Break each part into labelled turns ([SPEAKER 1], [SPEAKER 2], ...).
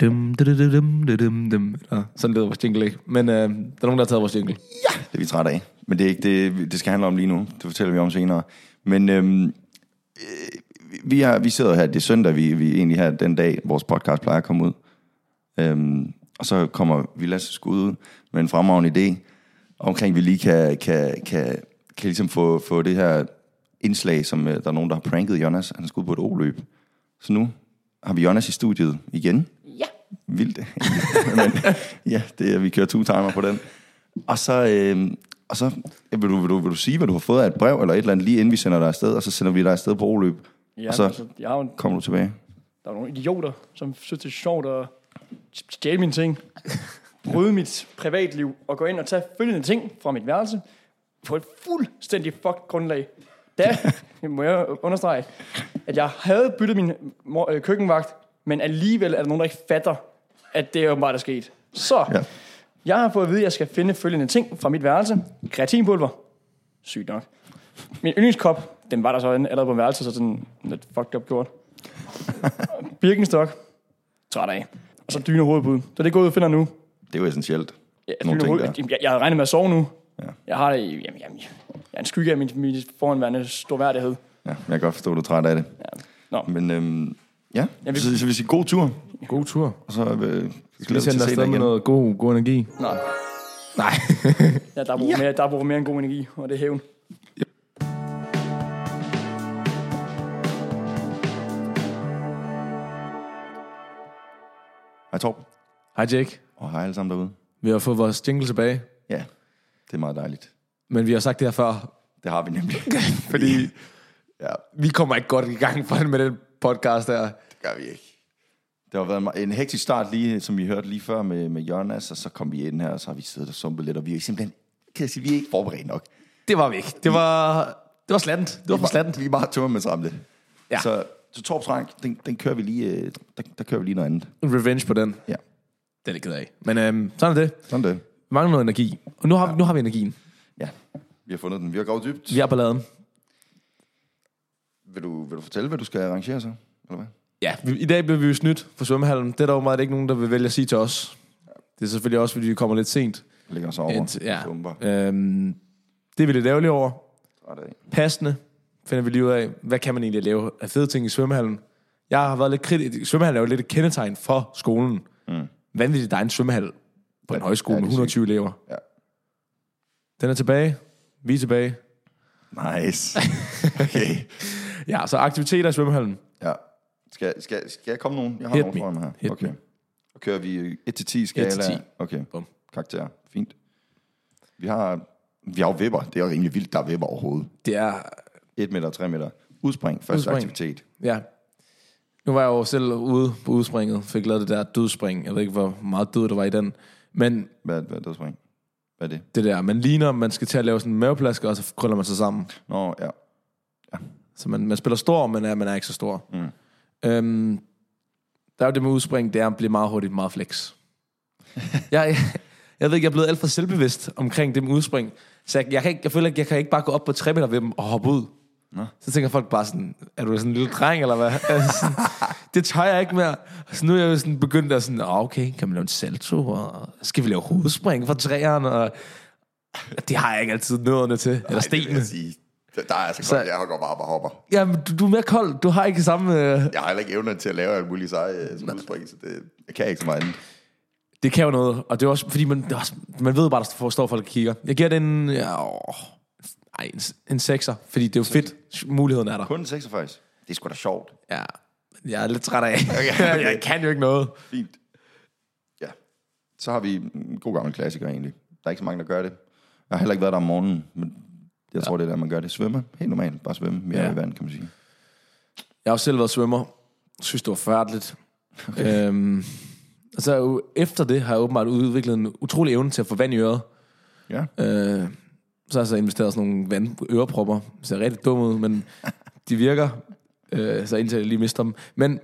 [SPEAKER 1] Dum, dum, dum, dum, dum, dum, dum. Og sådan lyder vores jingle ikke. Men øh, der er nogen, der har taget vores jingle.
[SPEAKER 2] Det er vi trætte af. Men det er ikke det, det skal handle om lige nu. Det fortæller vi om senere. Men øhm, øh, vi, har, vi sidder her, det er søndag, vi, vi er egentlig her den dag, vores podcast plejer at komme ud. Øhm, og så kommer vi Lasse Skud ud med en fremragende idé, omkring at vi lige kan, kan, kan, kan ligesom få, få det her indslag, som øh, der er nogen, der har pranket Jonas. Han skulle på et oløb. Så nu har vi Jonas i studiet igen. Ja. Vildt. Men, ja, det er, vi kører two-timer på den. Og så, øh, og så øh, vil, du, vil, du, vil du sige, hvad du har fået af et brev eller et eller andet, lige inden vi sender dig afsted, og så sender vi dig afsted på oløb.
[SPEAKER 3] Ja,
[SPEAKER 2] og så
[SPEAKER 3] altså, jeg har jo en,
[SPEAKER 2] kommer du tilbage.
[SPEAKER 3] der er nogle idioter, som synes, det er sjovt at stjæle mine ting, bryde mit privatliv og gå ind og tage følgende ting fra mit værelse på et fuldstændig fucked grundlag. Da må jeg understrege, at jeg havde byttet min mor, øh, køkkenvagt, men alligevel er der nogen, der ikke fatter, at det er åbenbart er sket. Så
[SPEAKER 2] Ja.
[SPEAKER 3] ja. jeg har fået at vide, at jeg skal finde følgende ting fra mit værelse. Kreatinpulver. Sygt nok. Min yndlingskop, den var der så allerede på værelset, så sådan lidt fucked up gjort. Birkenstock. Træt af. Og så dyne og hovedbud. Så det er gået, jeg finder nu.
[SPEAKER 2] Det er jo essentielt.
[SPEAKER 3] Ja,
[SPEAKER 2] Nogle
[SPEAKER 3] dyne og
[SPEAKER 2] ting,
[SPEAKER 3] hoved, jeg, jeg, regner med at sove nu.
[SPEAKER 2] Ja.
[SPEAKER 3] Ja. Jeg har det i, jamen, jamen, jeg er en skygge af min, min foranværende storværdighed.
[SPEAKER 2] Ja, jeg kan godt forstå, at du er træt af det. Ja.
[SPEAKER 3] Nå.
[SPEAKER 2] Men øhm, ja,
[SPEAKER 3] Ja, vi-
[SPEAKER 2] så, så vi siger god tur,
[SPEAKER 1] God tur.
[SPEAKER 2] og så øh, glæder vi
[SPEAKER 1] Vi
[SPEAKER 2] til at
[SPEAKER 1] sender
[SPEAKER 2] se dig
[SPEAKER 1] afsted med
[SPEAKER 2] igen.
[SPEAKER 1] noget god, god energi.
[SPEAKER 3] Nå.
[SPEAKER 1] Nej.
[SPEAKER 3] Ja, der er brug, ja. mere, der er brug for mere end god energi, og det er hævn.
[SPEAKER 2] Hej Torb,
[SPEAKER 1] Hej Jake.
[SPEAKER 2] og hej alle sammen derude.
[SPEAKER 1] Vi har fået vores jingle tilbage,
[SPEAKER 2] Ja, det er meget dejligt.
[SPEAKER 1] men vi har sagt det her før,
[SPEAKER 2] Det har vi nemlig.
[SPEAKER 1] fordi ja, vi kommer ikke godt i gang for med den podcast der.
[SPEAKER 2] det gør vi ikke. Det har været en, me- en hektisk start, lige, som vi hørte lige før med, med Jonas, og så kom vi ind her, og så har vi siddet og sumpet lidt, og vi er simpelthen, kan jeg sige, vi er ikke forberedt nok.
[SPEAKER 1] Det var vi ikke. Det var, det var slattent. Det var for slattent.
[SPEAKER 2] Vi er bare tømme med samlet.
[SPEAKER 1] Ja.
[SPEAKER 2] Så, så Torps Rank, den, den kører vi lige, øh, der, der kører vi lige noget andet.
[SPEAKER 1] Revenge på den.
[SPEAKER 2] Ja,
[SPEAKER 1] Det er lidt ked af. Men øhm, sådan er det.
[SPEAKER 2] sådan det.
[SPEAKER 1] Vi mangler noget energi. Og nu har, ja. nu har vi energien.
[SPEAKER 2] Ja, vi har fundet den. Vi har gået dybt.
[SPEAKER 1] Vi er på laden.
[SPEAKER 2] Vil du, vil du fortælle, hvad du skal arrangere så? Eller hvad?
[SPEAKER 1] Ja, vi, i dag blev vi jo snydt for svømmehallen. Det er der jo meget ikke nogen, der vil vælge at sige til os. Det er selvfølgelig også, fordi vi kommer lidt sent.
[SPEAKER 2] Ligger så over.
[SPEAKER 1] Et- ja.
[SPEAKER 2] Bomber.
[SPEAKER 1] Øhm, det er vi lidt ærgerlige over.
[SPEAKER 2] Træt af.
[SPEAKER 1] Passende finder vi lige ud af, hvad kan man egentlig lave af fede ting i svømmehallen. Jeg har været lidt kritisk. Svømmehallen er jo lidt et kendetegn for skolen. Mm. Vanvittigt, der er en svømmehal på en højskole
[SPEAKER 2] ja,
[SPEAKER 1] med
[SPEAKER 2] det er
[SPEAKER 1] 120 elever.
[SPEAKER 2] Ja.
[SPEAKER 1] Den er tilbage. Vi er tilbage.
[SPEAKER 2] Nice. Okay.
[SPEAKER 1] Ja, så aktiviteter i svømmehallen.
[SPEAKER 2] ja. Skal, skal, skal jeg komme nogen? Jeg har
[SPEAKER 1] Hit
[SPEAKER 2] nogen
[SPEAKER 1] me.
[SPEAKER 2] foran mig her.
[SPEAKER 1] Hit
[SPEAKER 2] okay.
[SPEAKER 1] me.
[SPEAKER 2] Og kører vi 1-10 skala?
[SPEAKER 1] 1-10.
[SPEAKER 2] Okay.
[SPEAKER 1] Bum.
[SPEAKER 2] Karakter. Fint. Vi har, vi har jo vipper. Det er jo rimelig vildt, der er vipper overhovedet.
[SPEAKER 1] Det er...
[SPEAKER 2] 1 meter, 3 meter. Udspring. Første
[SPEAKER 1] Udspring.
[SPEAKER 2] aktivitet.
[SPEAKER 1] Ja. Nu var jeg jo selv ude på udspringet, fik lavet det der dødspring. Jeg ved ikke, hvor meget død der var i den. Men
[SPEAKER 2] Hvad, hvad er det udspring? Hvad er det?
[SPEAKER 1] det der, man ligner, man skal til at lave sådan en maveplaske, og så krøller man sig sammen.
[SPEAKER 2] Nå, ja.
[SPEAKER 1] Så man, man spiller stor, men er, man er ikke så stor. Mm. Øhm, der er jo det med udspring, det er at blive meget hurtigt meget flex. jeg, jeg ved ikke, jeg er blevet alt for selvbevidst omkring det med udspring. Så jeg, jeg, kan ikke, jeg føler, at jeg kan ikke bare gå op på 3 meter ved dem og hoppe ud. Nå. Så tænker folk bare sådan, er du sådan en lille dreng, eller hvad? Altså, sådan, det tør jeg ikke mere. Så nu er jeg jo sådan begyndt at sådan, "Åh, okay, kan man lave en salto, og skal vi lave hovedspring fra træerne, og det har jeg ikke altid nødderne til, eller stenene.
[SPEAKER 2] sige. Der er altså
[SPEAKER 1] Så- godt-
[SPEAKER 2] jeg har godt bare og hopper.
[SPEAKER 1] Jamen, du, du er mere kold, du har ikke samme... Øh...
[SPEAKER 2] Jeg har heller ikke evner til at lave alt muligt seje øh, som udspring, så det, jeg kan ikke så meget andet.
[SPEAKER 1] Det kan jo noget, og det er også, fordi man, det er også, man ved bare, der står- står folk og kigger. Jeg giver den ja, åh, ej, en, en sekser, fordi det er jo fedt, muligheden er der.
[SPEAKER 2] Kun 86. Det er sgu da sjovt.
[SPEAKER 1] Ja, jeg er lidt træt af,
[SPEAKER 2] Okay.
[SPEAKER 1] jeg kan jo ikke noget.
[SPEAKER 2] Fint. Ja. Så har vi en god gammel klassiker egentlig. Der er ikke så mange, der gør det. Jeg har heller ikke været der om morgenen, men jeg tror, det er der, man gør det. Svømme. Helt normalt. Bare svømme. Mere ja.
[SPEAKER 1] Ja.
[SPEAKER 2] i vand, kan man sige.
[SPEAKER 1] Jeg har jo selv været svømmer, Jeg synes det var færdeligt. Okay. Øhm, og så er jeg jo, efter det har jeg åbenbart udviklet en utrolig evne til at få vand i øret.
[SPEAKER 2] Ja.
[SPEAKER 1] Øh, så har jeg så investeret i sådan nogle vandørepropper. Det ser rigtig dumt ud, men de virker, øh, så indtil jeg lige mister dem. Men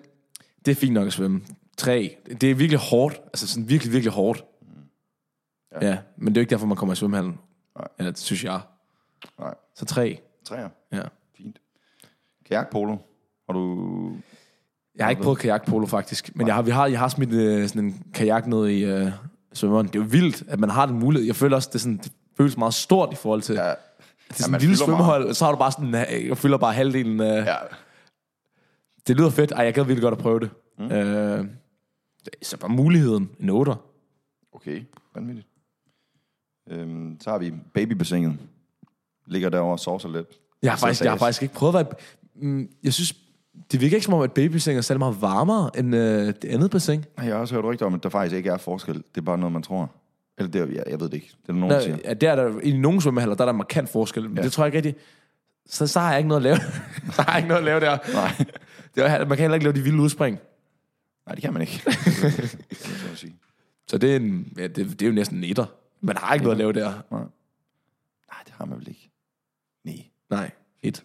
[SPEAKER 1] det er fint nok at svømme. Tre, det er virkelig hårdt. Altså sådan virkelig, virkelig hårdt.
[SPEAKER 2] Mm.
[SPEAKER 1] Ja. ja men det er jo ikke derfor, man kommer i svømmehallen.
[SPEAKER 2] Nej.
[SPEAKER 1] Eller det synes jeg.
[SPEAKER 2] Nej.
[SPEAKER 1] Så tre,
[SPEAKER 2] Træer.
[SPEAKER 1] ja.
[SPEAKER 2] Fint. Kajakpolo. Har du...
[SPEAKER 1] Jeg har ikke prøvet kajakpolo faktisk, men jeg har, vi har, jeg har smidt øh, sådan en kajak ned i øh, svømmeren. Det er jo vildt, at man har den mulighed. Jeg føler også, det, er sådan, det føles meget stort i forhold til... Ja. Det er sådan
[SPEAKER 2] man
[SPEAKER 1] et lille
[SPEAKER 2] fylder meget.
[SPEAKER 1] svømmehold, og så har du bare sådan, øh, jeg fylder bare halvdelen af...
[SPEAKER 2] Ja.
[SPEAKER 1] Det lyder fedt. Ej, jeg gad virkelig godt at prøve det. Mm. Øh, så bare muligheden. En otter.
[SPEAKER 2] Okay, vanvittigt. Øhm, så har vi babybassinet. Ligger derovre og sovser lidt.
[SPEAKER 1] Jeg har, faktisk, jeg har faktisk ikke prøvet at være... Mm, Jeg synes, det virker ikke som om, at babybassin er særlig meget varmere end øh, det andet bassin.
[SPEAKER 2] Jeg har også hørt rygter om, at der faktisk ikke er forskel. Det er bare noget, man tror. Eller det, er- jeg, jeg ved det ikke. Det er der nogen, der siger.
[SPEAKER 1] Der, ja, der er der, I nogle svømmehaller, der er der markant forskel, men ja. det tror jeg ikke rigtigt. Så, så har jeg ikke noget at lave. så har jeg ikke noget at lave der.
[SPEAKER 2] Nej.
[SPEAKER 1] Det er, man kan heller ikke lave de vilde udspring.
[SPEAKER 2] Nej, det kan man ikke. det kan jeg så sige.
[SPEAKER 1] Så det er, en, ja, det, det er jo næsten en etter. Man har ikke noget at lave der.
[SPEAKER 2] Nej, det har man vel ikke. Nej.
[SPEAKER 1] Nej, et.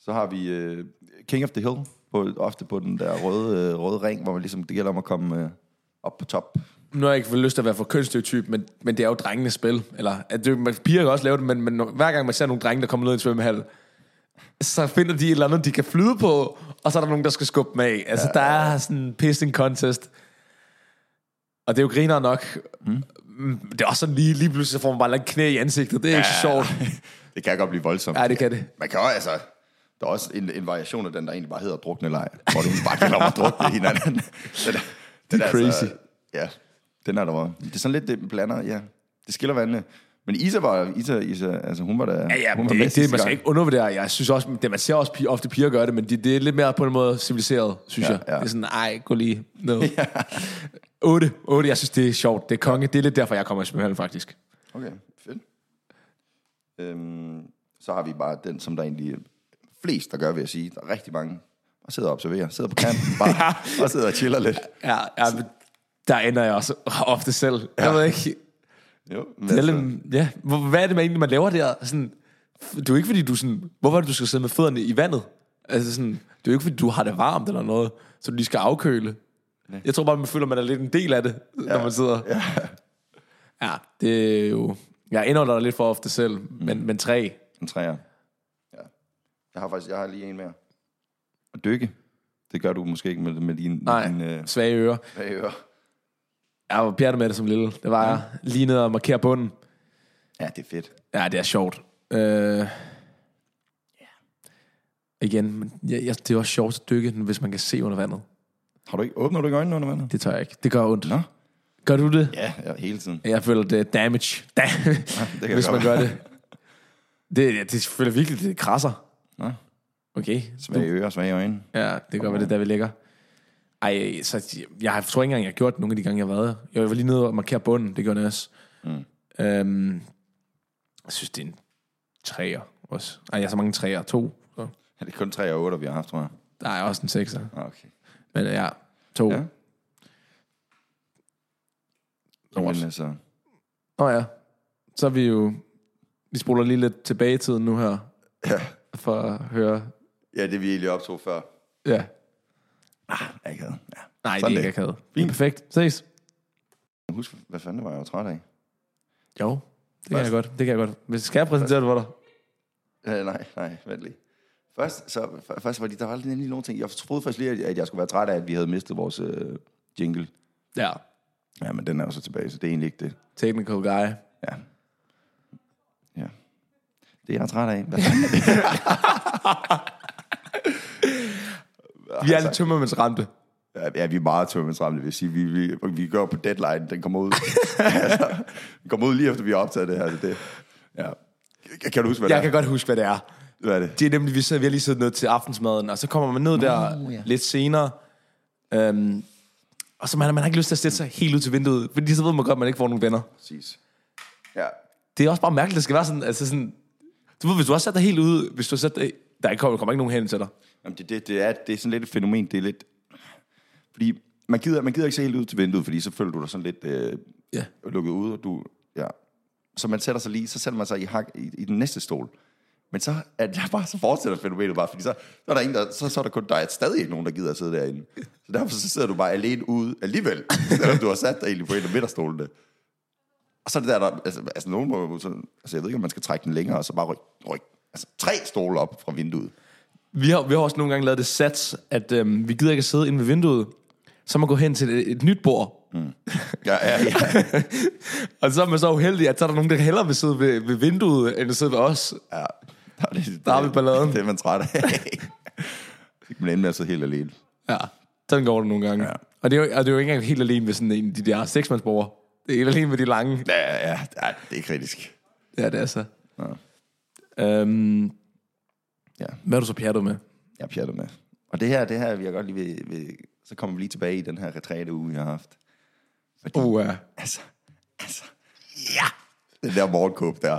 [SPEAKER 2] Så har vi øh, King of the Hill, på, ofte på den der røde, øh, røde ring, hvor man ligesom, det gælder om at komme øh, op på top.
[SPEAKER 1] Nu har jeg ikke lyst til at være for kønsstereotyp, men, men det er jo drengenes spil. Eller, at det, man, piger kan også lave det, men, men når- hver gang man ser nogle drenge, der kommer ned i en svømmehal, så finder de et eller andet, de kan flyde på, og så er der nogen, der skal skubbe dem af. Altså, der er sådan en pissing contest. Og det er jo griner nok. Mm. Det er også sådan lige, lige pludselig, så får man bare et eller andet knæ i ansigtet. Det er ja. ikke så sjovt.
[SPEAKER 2] Det kan godt blive voldsomt.
[SPEAKER 1] Ja, det kan det.
[SPEAKER 2] Man kan også, altså, der er også en, en variation af den, der egentlig bare hedder drukne leg, hvor det egentlig bare gælder om at drukne hinanden. Den, er- den
[SPEAKER 1] er crazy.
[SPEAKER 2] Altså, ja, den er der var. Det er sådan lidt, det blander, ja. Det skiller vandene. Men Isa var, Isa, Isa altså hun var da...
[SPEAKER 1] Ja, ja,
[SPEAKER 2] hun var
[SPEAKER 1] men det er
[SPEAKER 2] bedst
[SPEAKER 1] ikke det,
[SPEAKER 2] sidste
[SPEAKER 1] man skal
[SPEAKER 2] gang.
[SPEAKER 1] ikke undervurdere. Jeg synes også, det, man ser også piger, ofte piger gøre det, men det, det er lidt mere på en måde civiliseret, synes
[SPEAKER 2] Ja,
[SPEAKER 1] ja, jeg.
[SPEAKER 2] ja.
[SPEAKER 1] Ja. Det er sådan, ej, gå lige ned. Ja. 8, 8, jeg synes, det er sjovt. Det er konge. Det er lidt derfor, jeg kommer i svømmehallen, faktisk.
[SPEAKER 2] Okay, fedt. Øhm, så har vi bare den, som der egentlig er flest, der gør, vil jeg sige. Der er rigtig mange, der sidder og observerer. Sidder på kanten bare, og sidder og chiller lidt.
[SPEAKER 1] Ja, ja men der ender jeg også ofte selv. Ja. Jeg ved ikke,
[SPEAKER 2] Jo, men
[SPEAKER 1] det er
[SPEAKER 2] altså,
[SPEAKER 1] lidt, ja. Hvor- hvad er det man egentlig, man laver der? Sådan, det er jo ikke, fordi du sådan, hvorfor er det, du skal sidde med fødderne i vandet? Altså sådan, det er jo ikke, fordi du har det varmt eller noget, så du lige skal afkøle. Jeg tror bare, man føler, man er lidt en del af det, ja. når man sidder. Ja. ja, det er jo... Jeg indholder dig lidt for ofte selv, mm. men, men tre.
[SPEAKER 2] en træer. Ja. Jeg har faktisk jeg har lige en mere. Og dykke. Det gør du måske ikke med, med din,
[SPEAKER 1] Nej,
[SPEAKER 2] din øh,
[SPEAKER 1] svage ører.
[SPEAKER 2] bagøre.
[SPEAKER 1] Jeg var pjattet med det som lille. Det var jeg. Lige ned og markere bunden.
[SPEAKER 2] Ja, det er fedt.
[SPEAKER 1] Ja, det er sjovt. Øh, igen, men jeg, jeg, det er også sjovt at dykke, hvis man kan se under vandet.
[SPEAKER 2] Har du ikke, åbner du ikke øjnene under vandet?
[SPEAKER 1] Det tør jeg ikke. Det gør ondt.
[SPEAKER 2] Nå.
[SPEAKER 1] Gør du det?
[SPEAKER 2] Ja, ja hele tiden.
[SPEAKER 1] Jeg føler, det er damage, da,
[SPEAKER 2] det kan
[SPEAKER 1] hvis
[SPEAKER 2] godt
[SPEAKER 1] man gør
[SPEAKER 2] være.
[SPEAKER 1] det. Det, jeg, det føler virkelig, det krasser.
[SPEAKER 2] Nå.
[SPEAKER 1] Okay.
[SPEAKER 2] Svage ører, svage øjne.
[SPEAKER 1] Ja, det gør, hvad det er der, vi ligger. Ej, så jeg, jeg tror ikke engang, jeg har gjort det nogle af de gange, jeg har været. Jeg var lige nede og markere bunden, det gjorde jeg også. Mm. Øhm, jeg synes, det er en træer også. Ej, jeg har så mange træer. To. Så.
[SPEAKER 2] Ja, det er kun 3 og 8, vi har haft, tror jeg.
[SPEAKER 1] Der er også en sekser.
[SPEAKER 2] Ah, Okay.
[SPEAKER 1] Men ja, to.
[SPEAKER 2] Ja.
[SPEAKER 1] Ja.
[SPEAKER 2] Jamen, altså,
[SPEAKER 1] Nå ja, så er vi jo... Vi spoler lige lidt tilbage i tiden nu her. Ja. For at høre...
[SPEAKER 2] ja, det vi egentlig optog før.
[SPEAKER 1] Ja.
[SPEAKER 2] Ja, ikke ja. Sådan
[SPEAKER 1] Nej, Sådan det er
[SPEAKER 2] det.
[SPEAKER 1] ikke akavet. Det er
[SPEAKER 2] Fint.
[SPEAKER 1] perfekt. Ses.
[SPEAKER 2] Husk, hvad fanden det var, jeg var træt af?
[SPEAKER 1] Jo, det kan jeg godt. Det kan jeg godt. Hvis skal jeg præsentere det for dig?
[SPEAKER 2] Øh, nej, nej, vent lige. Først, så, f- først var de, der var lige nogle ting. Jeg troede først lige, at- at jeg skulle være træt af, at vi havde mistet vores øh, jingle.
[SPEAKER 1] Ja.
[SPEAKER 2] Ja, men den er jo så tilbage, så det er egentlig ikke det.
[SPEAKER 1] Technical guy.
[SPEAKER 2] Ja. Ja. Det er jeg træt af. Hvad fanden?
[SPEAKER 1] Vi er lidt tømmermændsramte.
[SPEAKER 2] Ja, ja, vi er meget tømmermændsramte, vil jeg sige. Vi, vi, vi gør på deadline, den kommer ud. altså, den kommer ud lige efter, vi har optaget det her. Så det, ja. Kan- Kan du huske, hvad
[SPEAKER 1] Jeg
[SPEAKER 2] det
[SPEAKER 1] kan
[SPEAKER 2] er?
[SPEAKER 1] godt huske, hvad det er.
[SPEAKER 2] Hvad er det?
[SPEAKER 1] Det er nemlig, vi, sidder, vi har lige siddet ned til aftensmaden, og så kommer man ned der oh, ja. lidt senere. Øhm, og så man, man har ikke lyst til at sætte sig helt ud til vinduet, fordi så ved man godt, at man ikke får nogen venner.
[SPEAKER 2] Præcis. Ja.
[SPEAKER 1] det er også bare mærkeligt, at det skal være sådan, altså sådan, du ved, hvis du har sat dig helt ude, hvis du har sat dig, der er ikke kommer, kommer ikke nogen hen til dig.
[SPEAKER 2] Jamen, det, det, det, er, det er sådan lidt et fænomen. Det er lidt... Fordi man gider, man gider ikke se helt ud til vinduet, fordi så føler du dig sådan lidt øh,
[SPEAKER 1] Ja.
[SPEAKER 2] lukket ud, og du... Ja. Så man sætter sig lige, så sætter man sig i, hak, i, i den næste stol. Men så er det bare, så fortsætter fænomenet bare, fordi så, så er der ingen, der, så, så er der kun, der er stadig ikke nogen, der gider at sidde derinde. Så derfor så sidder du bare alene ude alligevel, selvom du har sat dig egentlig på en af midterstolene. Og så er det der, der altså, altså nogen må jo sådan, altså jeg ved ikke, om man skal trække den længere, og så bare rykke ryk, altså tre stole op fra vinduet.
[SPEAKER 1] Vi har, vi har også nogle gange lavet det sats, at øhm, vi gider ikke at sidde inde ved vinduet, så må man gå hen til et, et nyt bord.
[SPEAKER 2] Ja, ja, ja.
[SPEAKER 1] Og så er man så uheldig, at så er der nogen, der hellere vil sidde ved, ved vinduet, end at sidde ved os.
[SPEAKER 2] ja. Der, er det,
[SPEAKER 1] Der har vi balladen.
[SPEAKER 2] Det er man træt af. Så kan man ende med at sidde helt alene.
[SPEAKER 1] Ja, sådan går det nogle gange. Ja.
[SPEAKER 2] Ja.
[SPEAKER 1] Og, det er jo, og det er jo ikke engang helt alene med sådan en af de der seksmandsborger. Det er helt alene med de lange.
[SPEAKER 2] Ja, ja, ja, det er kritisk.
[SPEAKER 1] Ja, det er så. Ja. Øhm,
[SPEAKER 2] Ja.
[SPEAKER 1] Hvad er du så pjattet med?
[SPEAKER 2] Jeg er pjattet med. Og det her, det her, vi har godt lige ved, ved, så kommer vi lige tilbage i den her retræte uge, jeg har haft. Fordi,
[SPEAKER 1] Uh, ja.
[SPEAKER 2] altså, altså, ja, den der morgenkåb der,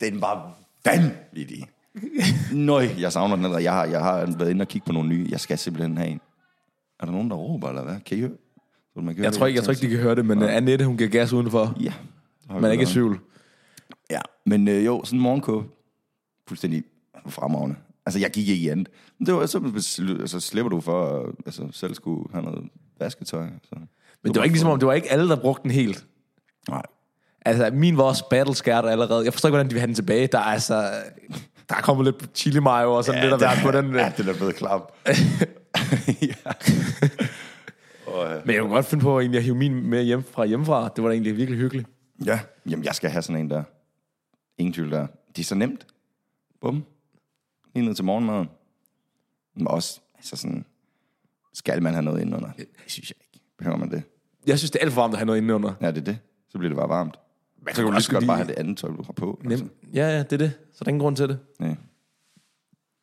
[SPEAKER 2] den var vanvittig. Nøj, jeg savner den allerede. Jeg har, jeg har været inde og kigge på nogle nye. Jeg skal simpelthen have en. Er der nogen, der råber, eller hvad? Kan I høre? Man kan høre
[SPEAKER 1] Jeg tror ikke, jeg tror ikke, de kan høre det, men uh, Annette, hun giver gas udenfor.
[SPEAKER 2] Ja.
[SPEAKER 1] Man er ikke i tvivl.
[SPEAKER 2] Ja, men øh, jo, sådan en morgenkåb, fuldstændig fremragende. Altså, jeg gik ikke i andet. Men det var, så, beslu- så slipper du for at altså, selv skulle have noget vasketøj. Så.
[SPEAKER 1] Men det var ikke ligesom om, det var ikke alle, der brugte den helt.
[SPEAKER 2] Nej.
[SPEAKER 1] Altså, min var også battleskærter allerede. Jeg forstår ikke, hvordan de vil have den tilbage. Der er altså... Der er kommet lidt chili mayo og sådan ja, lidt af hvert på den. øh.
[SPEAKER 2] Ja, den er blevet klam. ja.
[SPEAKER 1] Men jeg kunne godt finde på egentlig at hive min med hjem fra hjemmefra. Det var da egentlig virkelig hyggeligt.
[SPEAKER 2] ja. Jamen, jeg skal have sådan en der. Ingen tvivl der. Det er så nemt. Bum. Lige ned til morgenmaden. Men også, altså sådan, skal man have noget indenunder? Det synes jeg ikke. Behøver man det?
[SPEAKER 1] Jeg synes, det er alt for varmt at have noget indenunder.
[SPEAKER 2] Ja, det er det. Så bliver det bare varmt. Man
[SPEAKER 1] kan
[SPEAKER 2] så kan
[SPEAKER 1] jo
[SPEAKER 2] du
[SPEAKER 1] lige
[SPEAKER 2] lige
[SPEAKER 1] så
[SPEAKER 2] så godt
[SPEAKER 1] lige-
[SPEAKER 2] bare have det andet tøj, du har på. Altså.
[SPEAKER 1] Nem. Ja, ja, det er det. Så der er ingen grund til det.
[SPEAKER 2] Ja.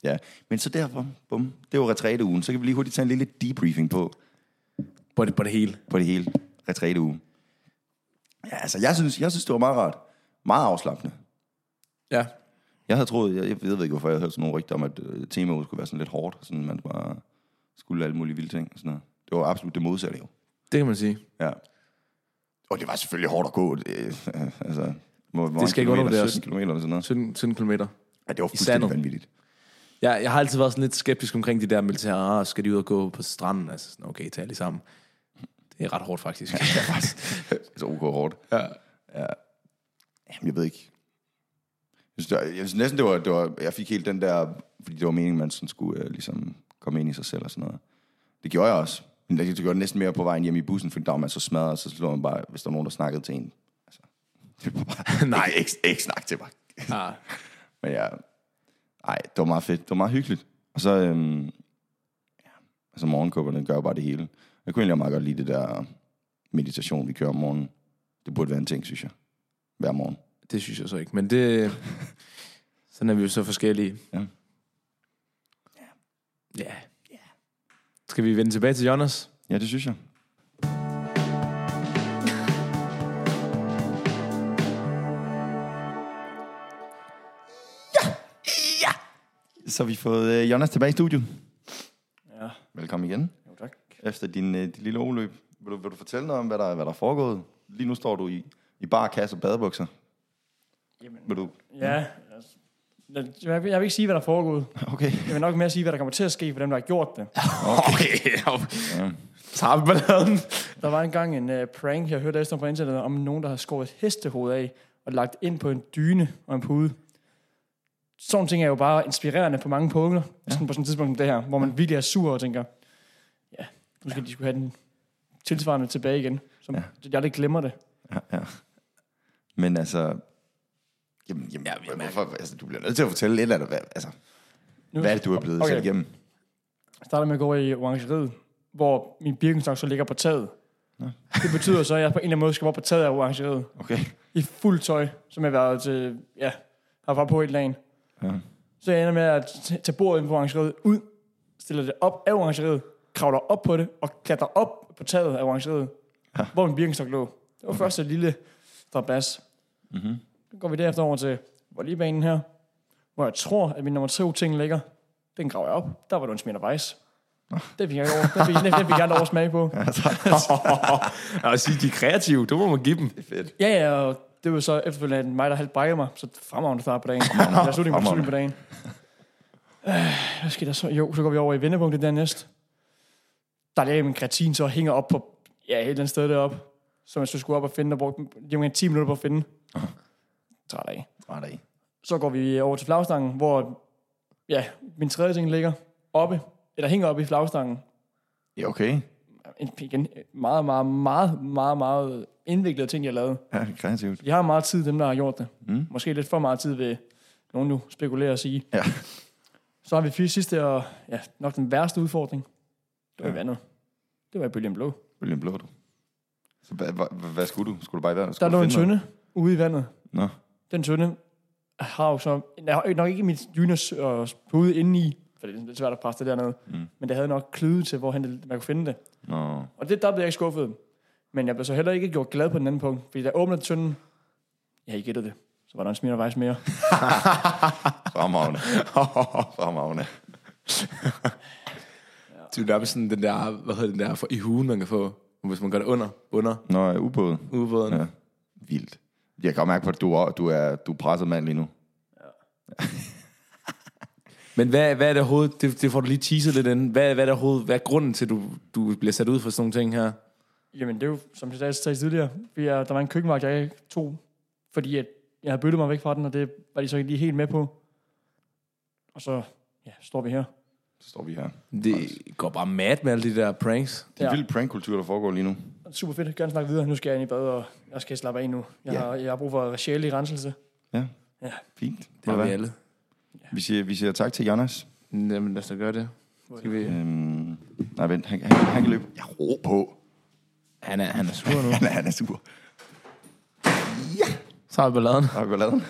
[SPEAKER 2] ja. Men så derfor, bum, det var retræteugen. Så kan vi lige hurtigt tage en lille debriefing på,
[SPEAKER 1] På det, på det hele.
[SPEAKER 2] på det hele retræteugen. Ja, altså, jeg synes, jeg synes, det var meget rart. Meget afslappende.
[SPEAKER 1] Ja.
[SPEAKER 2] Jeg havde troet, jeg, jeg ved ikke, hvorfor jeg havde hørt sådan nogle rygter om, at øh, temaet skulle være sådan lidt hårdt, og sådan man bare skulle alle mulige vilde ting og sådan noget. Det var absolut det modsatte jo.
[SPEAKER 1] Det kan man sige.
[SPEAKER 2] Ja. Og det var selvfølgelig hårdt at gå. Det, øh, altså, hvor, hvor
[SPEAKER 1] Det skal ikke
[SPEAKER 2] mange kilometer?
[SPEAKER 1] undervurderes.
[SPEAKER 2] 17 kilometer eller sådan noget.
[SPEAKER 1] 17, 17 kilometer.
[SPEAKER 2] Ja, det var
[SPEAKER 1] sandet.
[SPEAKER 2] fuldstændig vanvittigt.
[SPEAKER 1] Jeg, jeg har altid været sådan lidt skeptisk omkring de der militære, ah, skal de ud og gå på stranden? Altså sådan, okay, tag lige sammen. Det er ret hårdt faktisk.
[SPEAKER 2] Det var så Altså, ok hårdt.
[SPEAKER 1] ja.
[SPEAKER 2] Jamen, jeg ved ikke. Jeg synes, det var, jeg synes næsten, det var, det var... Jeg fik helt den der... Fordi det var meningen, man sådan skulle øh, ligesom komme ind i sig selv og sådan noget. Det gjorde jeg også. Men det, det gjorde jeg næsten mere på vejen hjem i bussen, fordi der var man så smadret, og så slog man bare, hvis der var nogen, der snakkede til en. Altså, det var bare, nej, ikke, ikke snak til mig.
[SPEAKER 1] Ah,
[SPEAKER 2] Men ja, nej, det var meget fedt. Det var meget hyggeligt. Og så, øhm, ja, altså morgenkubberne gør jo bare det hele. Jeg kunne egentlig meget godt lide det der meditation, vi kører om morgenen. Det burde være en ting, synes jeg. Hver morgen.
[SPEAKER 1] det synes jeg så ikke, men det... Sådan er vi jo så forskellige.
[SPEAKER 2] Ja.
[SPEAKER 1] Ja. Skal vi vende tilbage til Jonas?
[SPEAKER 2] Ja, det synes jeg. Ja! Så har vi fået øh, Jonas tilbage i studiet.
[SPEAKER 3] Ja,
[SPEAKER 2] Velkommen igen.
[SPEAKER 3] jo tak.
[SPEAKER 2] Efter din, øh, din lille oløb. Vil du, vil du fortælle noget om, hvad der, hvad der er foregået? Lige nu står du i, i bare kasse og badebukser.
[SPEAKER 3] Jamen,
[SPEAKER 2] Vil du...
[SPEAKER 3] ja, altså, jeg, vil, jeg vil ikke sige, hvad der er foregået.
[SPEAKER 2] Okay.
[SPEAKER 3] Jeg vil nok mere sige, hvad der kommer til at ske for dem, der har gjort det.
[SPEAKER 1] Okay.
[SPEAKER 2] Ja.
[SPEAKER 1] Tager vi balladen?
[SPEAKER 3] Der var engang en uh, prank, jeg hørte efter på internettet, om nogen, der havde skåret et hestehoved af og lagt ind på en dyne og en pude. Sådan ting er jo bare inspirerende på mange punkter, ja. sådan på sådan et tidspunkt som det her, hvor man virkelig er sur og tænker, ja, nu skal ja. de skulle have den tilsvarende tilbage igen, som ja.
[SPEAKER 2] Ja.
[SPEAKER 3] jeg aldrig glemmer det.
[SPEAKER 2] Ja, ja. Men altså... Jamen, jamen, ja, hvorfor, altså, du bliver nødt til at fortælle lidt af det. Hvad, altså,
[SPEAKER 3] Nu
[SPEAKER 2] hvad er det, du er blevet okay.
[SPEAKER 3] Okay.
[SPEAKER 2] selv igennem?
[SPEAKER 3] starter med at gå over i orangeriet, hvor min Birkenstock så ligger på taget. Ja. Det betyder så, at jeg på en eller anden måde skal op på taget af orangeriet.
[SPEAKER 2] Okay.
[SPEAKER 3] i fuld tøj, som jeg har været til, ja, har været på et eller andet.
[SPEAKER 2] Ja.
[SPEAKER 3] Så jeg ender med at t- tage bordet inde på orangeriet ud, stiller det op af orangeriet, kravler op på det og klatrer op på taget af orangeriet, ja. hvor min birkenstok lå. Det var okay. første lille drabas. Mm-hmm. Så går vi derefter over til volleybanen her, hvor jeg tror, at min nummer to ting ligger. Den graver jeg op. Der var du en smidt vejs. Det fik jeg ikke over. Den fik, den fik jeg aldrig over smag på.
[SPEAKER 1] Jeg vil sige, de er kreative. Det må man give dem.
[SPEAKER 3] Ja, ja, og det var så efterfølgende mig, der halvt brækkede mig, så fremragende start på dagen. Eller slutning på slutning på dagen. Øh, hvad sker der så? Jo, så går vi over i vendepunktet dernæst. Der ligger min kreatin så og hænger op på, ja, et eller andet sted deroppe, som jeg så skulle op og finde, og brugte lige omkring 10 minutter på at finde. Træt af.
[SPEAKER 2] Træt af.
[SPEAKER 3] Så går vi over til flagstangen, hvor ja, min tredje ting ligger oppe, eller hænger oppe i flagstangen.
[SPEAKER 2] Ja, okay.
[SPEAKER 3] En- Igen, meget, meget, meget, meget, meget indviklede ting, jeg lavede.
[SPEAKER 2] Ja, kreativt.
[SPEAKER 3] De har meget tid, dem der har gjort det.
[SPEAKER 2] Mm.
[SPEAKER 3] Måske lidt for meget tid, vil nogen nu spekulere og sige.
[SPEAKER 2] Ja.
[SPEAKER 3] Så har vi fire sidste, og ja, nok den værste udfordring. Det var
[SPEAKER 2] Ja.
[SPEAKER 3] ja. vandet. Det var i bølgen blå.
[SPEAKER 2] William Blå, du. Så hvad, hvad, hvad skulle du? Skulle du bare i vandet?
[SPEAKER 3] Der
[SPEAKER 2] Skulle
[SPEAKER 3] lå
[SPEAKER 2] du
[SPEAKER 3] en
[SPEAKER 2] finde
[SPEAKER 3] tønde ude i vandet.
[SPEAKER 2] noget?
[SPEAKER 3] Den tønde har jo så... Jeg har nok ikke mit dyners og pude inde i, for det er lidt svært at presse det dernede.
[SPEAKER 2] Mm.
[SPEAKER 3] Mm. Men det havde nok kløde til, hvor han, man kunne finde det.
[SPEAKER 2] Nå, nå.
[SPEAKER 3] Og det, der blev jeg ikke skuffet. Men jeg blev så heller ikke gjort glad på den anden punkt, fordi da jeg åbnede tønden, ja, I gættede det, så var der en smirende vejs mere.
[SPEAKER 2] Fremragende. Fremragende.
[SPEAKER 1] Du er nærmest sådan den der, hvad hedder den der, for, i hugen, man kan få, hvis man gør det under, under
[SPEAKER 2] Nå, ja, ubåden.
[SPEAKER 1] ubåden. Ja.
[SPEAKER 2] Ja. Vildt. Jeg kan godt mærke på, at du er, du er, du er presset mand lige nu.
[SPEAKER 1] Men hvad, hvad er det overhovedet, det, det får du lige teaset lidt inden, hvad, hvad er det overhovedet, hvad er grunden til, at du, du bliver sat ud for sådan nogle ting her?
[SPEAKER 3] Jamen det er jo, som jeg sagde, sagde tidligere, vi er, der var en køkkenvagt, jeg ikke tog, fordi at jeg havde byttet mig væk fra den, og det var de så ikke lige helt med på. Og så, ja, står vi her.
[SPEAKER 2] Så står vi her.
[SPEAKER 1] Det går bare mad med alle de der pranks.
[SPEAKER 2] Det er ja.
[SPEAKER 3] Ja.
[SPEAKER 2] en vild prankkultur, der foregår lige nu.
[SPEAKER 3] Super fedt, gerne snakke videre. Nu skal jeg ind i bad, og jeg skal slappe af nu. Jeg,
[SPEAKER 2] Ja.
[SPEAKER 3] ja. har, jeg har brug for sjælig renselse.
[SPEAKER 2] Ja.
[SPEAKER 3] Ja.
[SPEAKER 2] Fint.
[SPEAKER 1] Det har vi
[SPEAKER 2] Hvad?
[SPEAKER 1] alle.
[SPEAKER 2] Vi siger, vi siger tak til Jonas.
[SPEAKER 1] Jamen, lad os da gøre det. Skal vi...
[SPEAKER 2] Øhm, nej, vent. Han, han, han kan løbe. Jeg ro på.
[SPEAKER 1] Han er, han er sur nu.
[SPEAKER 2] Han er, han er super.
[SPEAKER 1] Så har vi balladen.
[SPEAKER 2] Har vi balladen?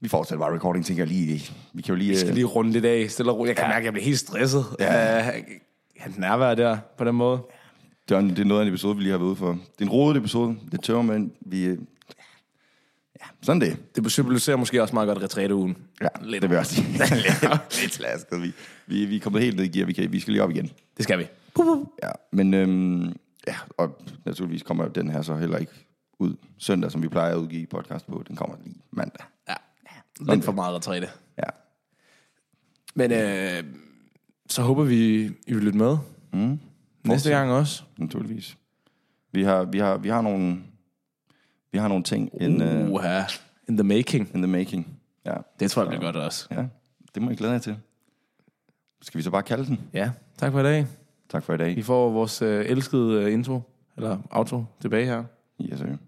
[SPEAKER 2] Vi fortsætter bare recording, tænker jeg lige. Vi kan jo lige... øh,
[SPEAKER 1] Vi skal lige runde lidt af, stille og roligt. Jeg kan mærke, at jeg bliver helt stresset. Øh. Ja. Hans nærvær der, på den måde.
[SPEAKER 2] Det er, en- det er noget af en episode, vi lige har været ude for. Det er en rodet episode. Det tøver, men vi... øh, Ja, sådan det.
[SPEAKER 1] Det symboliserer måske også meget godt retræteugen.
[SPEAKER 2] Ja,
[SPEAKER 1] Lidt.
[SPEAKER 2] lidt. det vil jeg også sige. lidt, lidt slasket. Vi, vi, vi er kommet helt ned i gear. Vi, kan, vi skal lige op igen.
[SPEAKER 1] Det skal vi.
[SPEAKER 2] Ja, men øhm, ja, og naturligvis kommer den her så heller ikke ud søndag, som vi plejer at udgive podcast på. Den kommer lige mandag.
[SPEAKER 1] Ja. Lidt for meget retræte.
[SPEAKER 2] Ja.
[SPEAKER 1] Men øh, så håber vi, I vil lytte med. Mm. Næste gang også.
[SPEAKER 2] Naturligvis. Vi har, vi har, vi har nogle... Vi har nogle ting in, uh,
[SPEAKER 1] Uha. In the making.
[SPEAKER 2] in the making. Ja,
[SPEAKER 1] øh, Det tror jeg bliver godt også.
[SPEAKER 2] ja, det må jeg glæde jer til. Skal vi så bare kalde den?
[SPEAKER 1] Ja, tak for i dag.
[SPEAKER 2] Tak for i dag.
[SPEAKER 1] I får vores øh, elskede øh, intro, eller outro, tilbage her.
[SPEAKER 2] Yes, sir.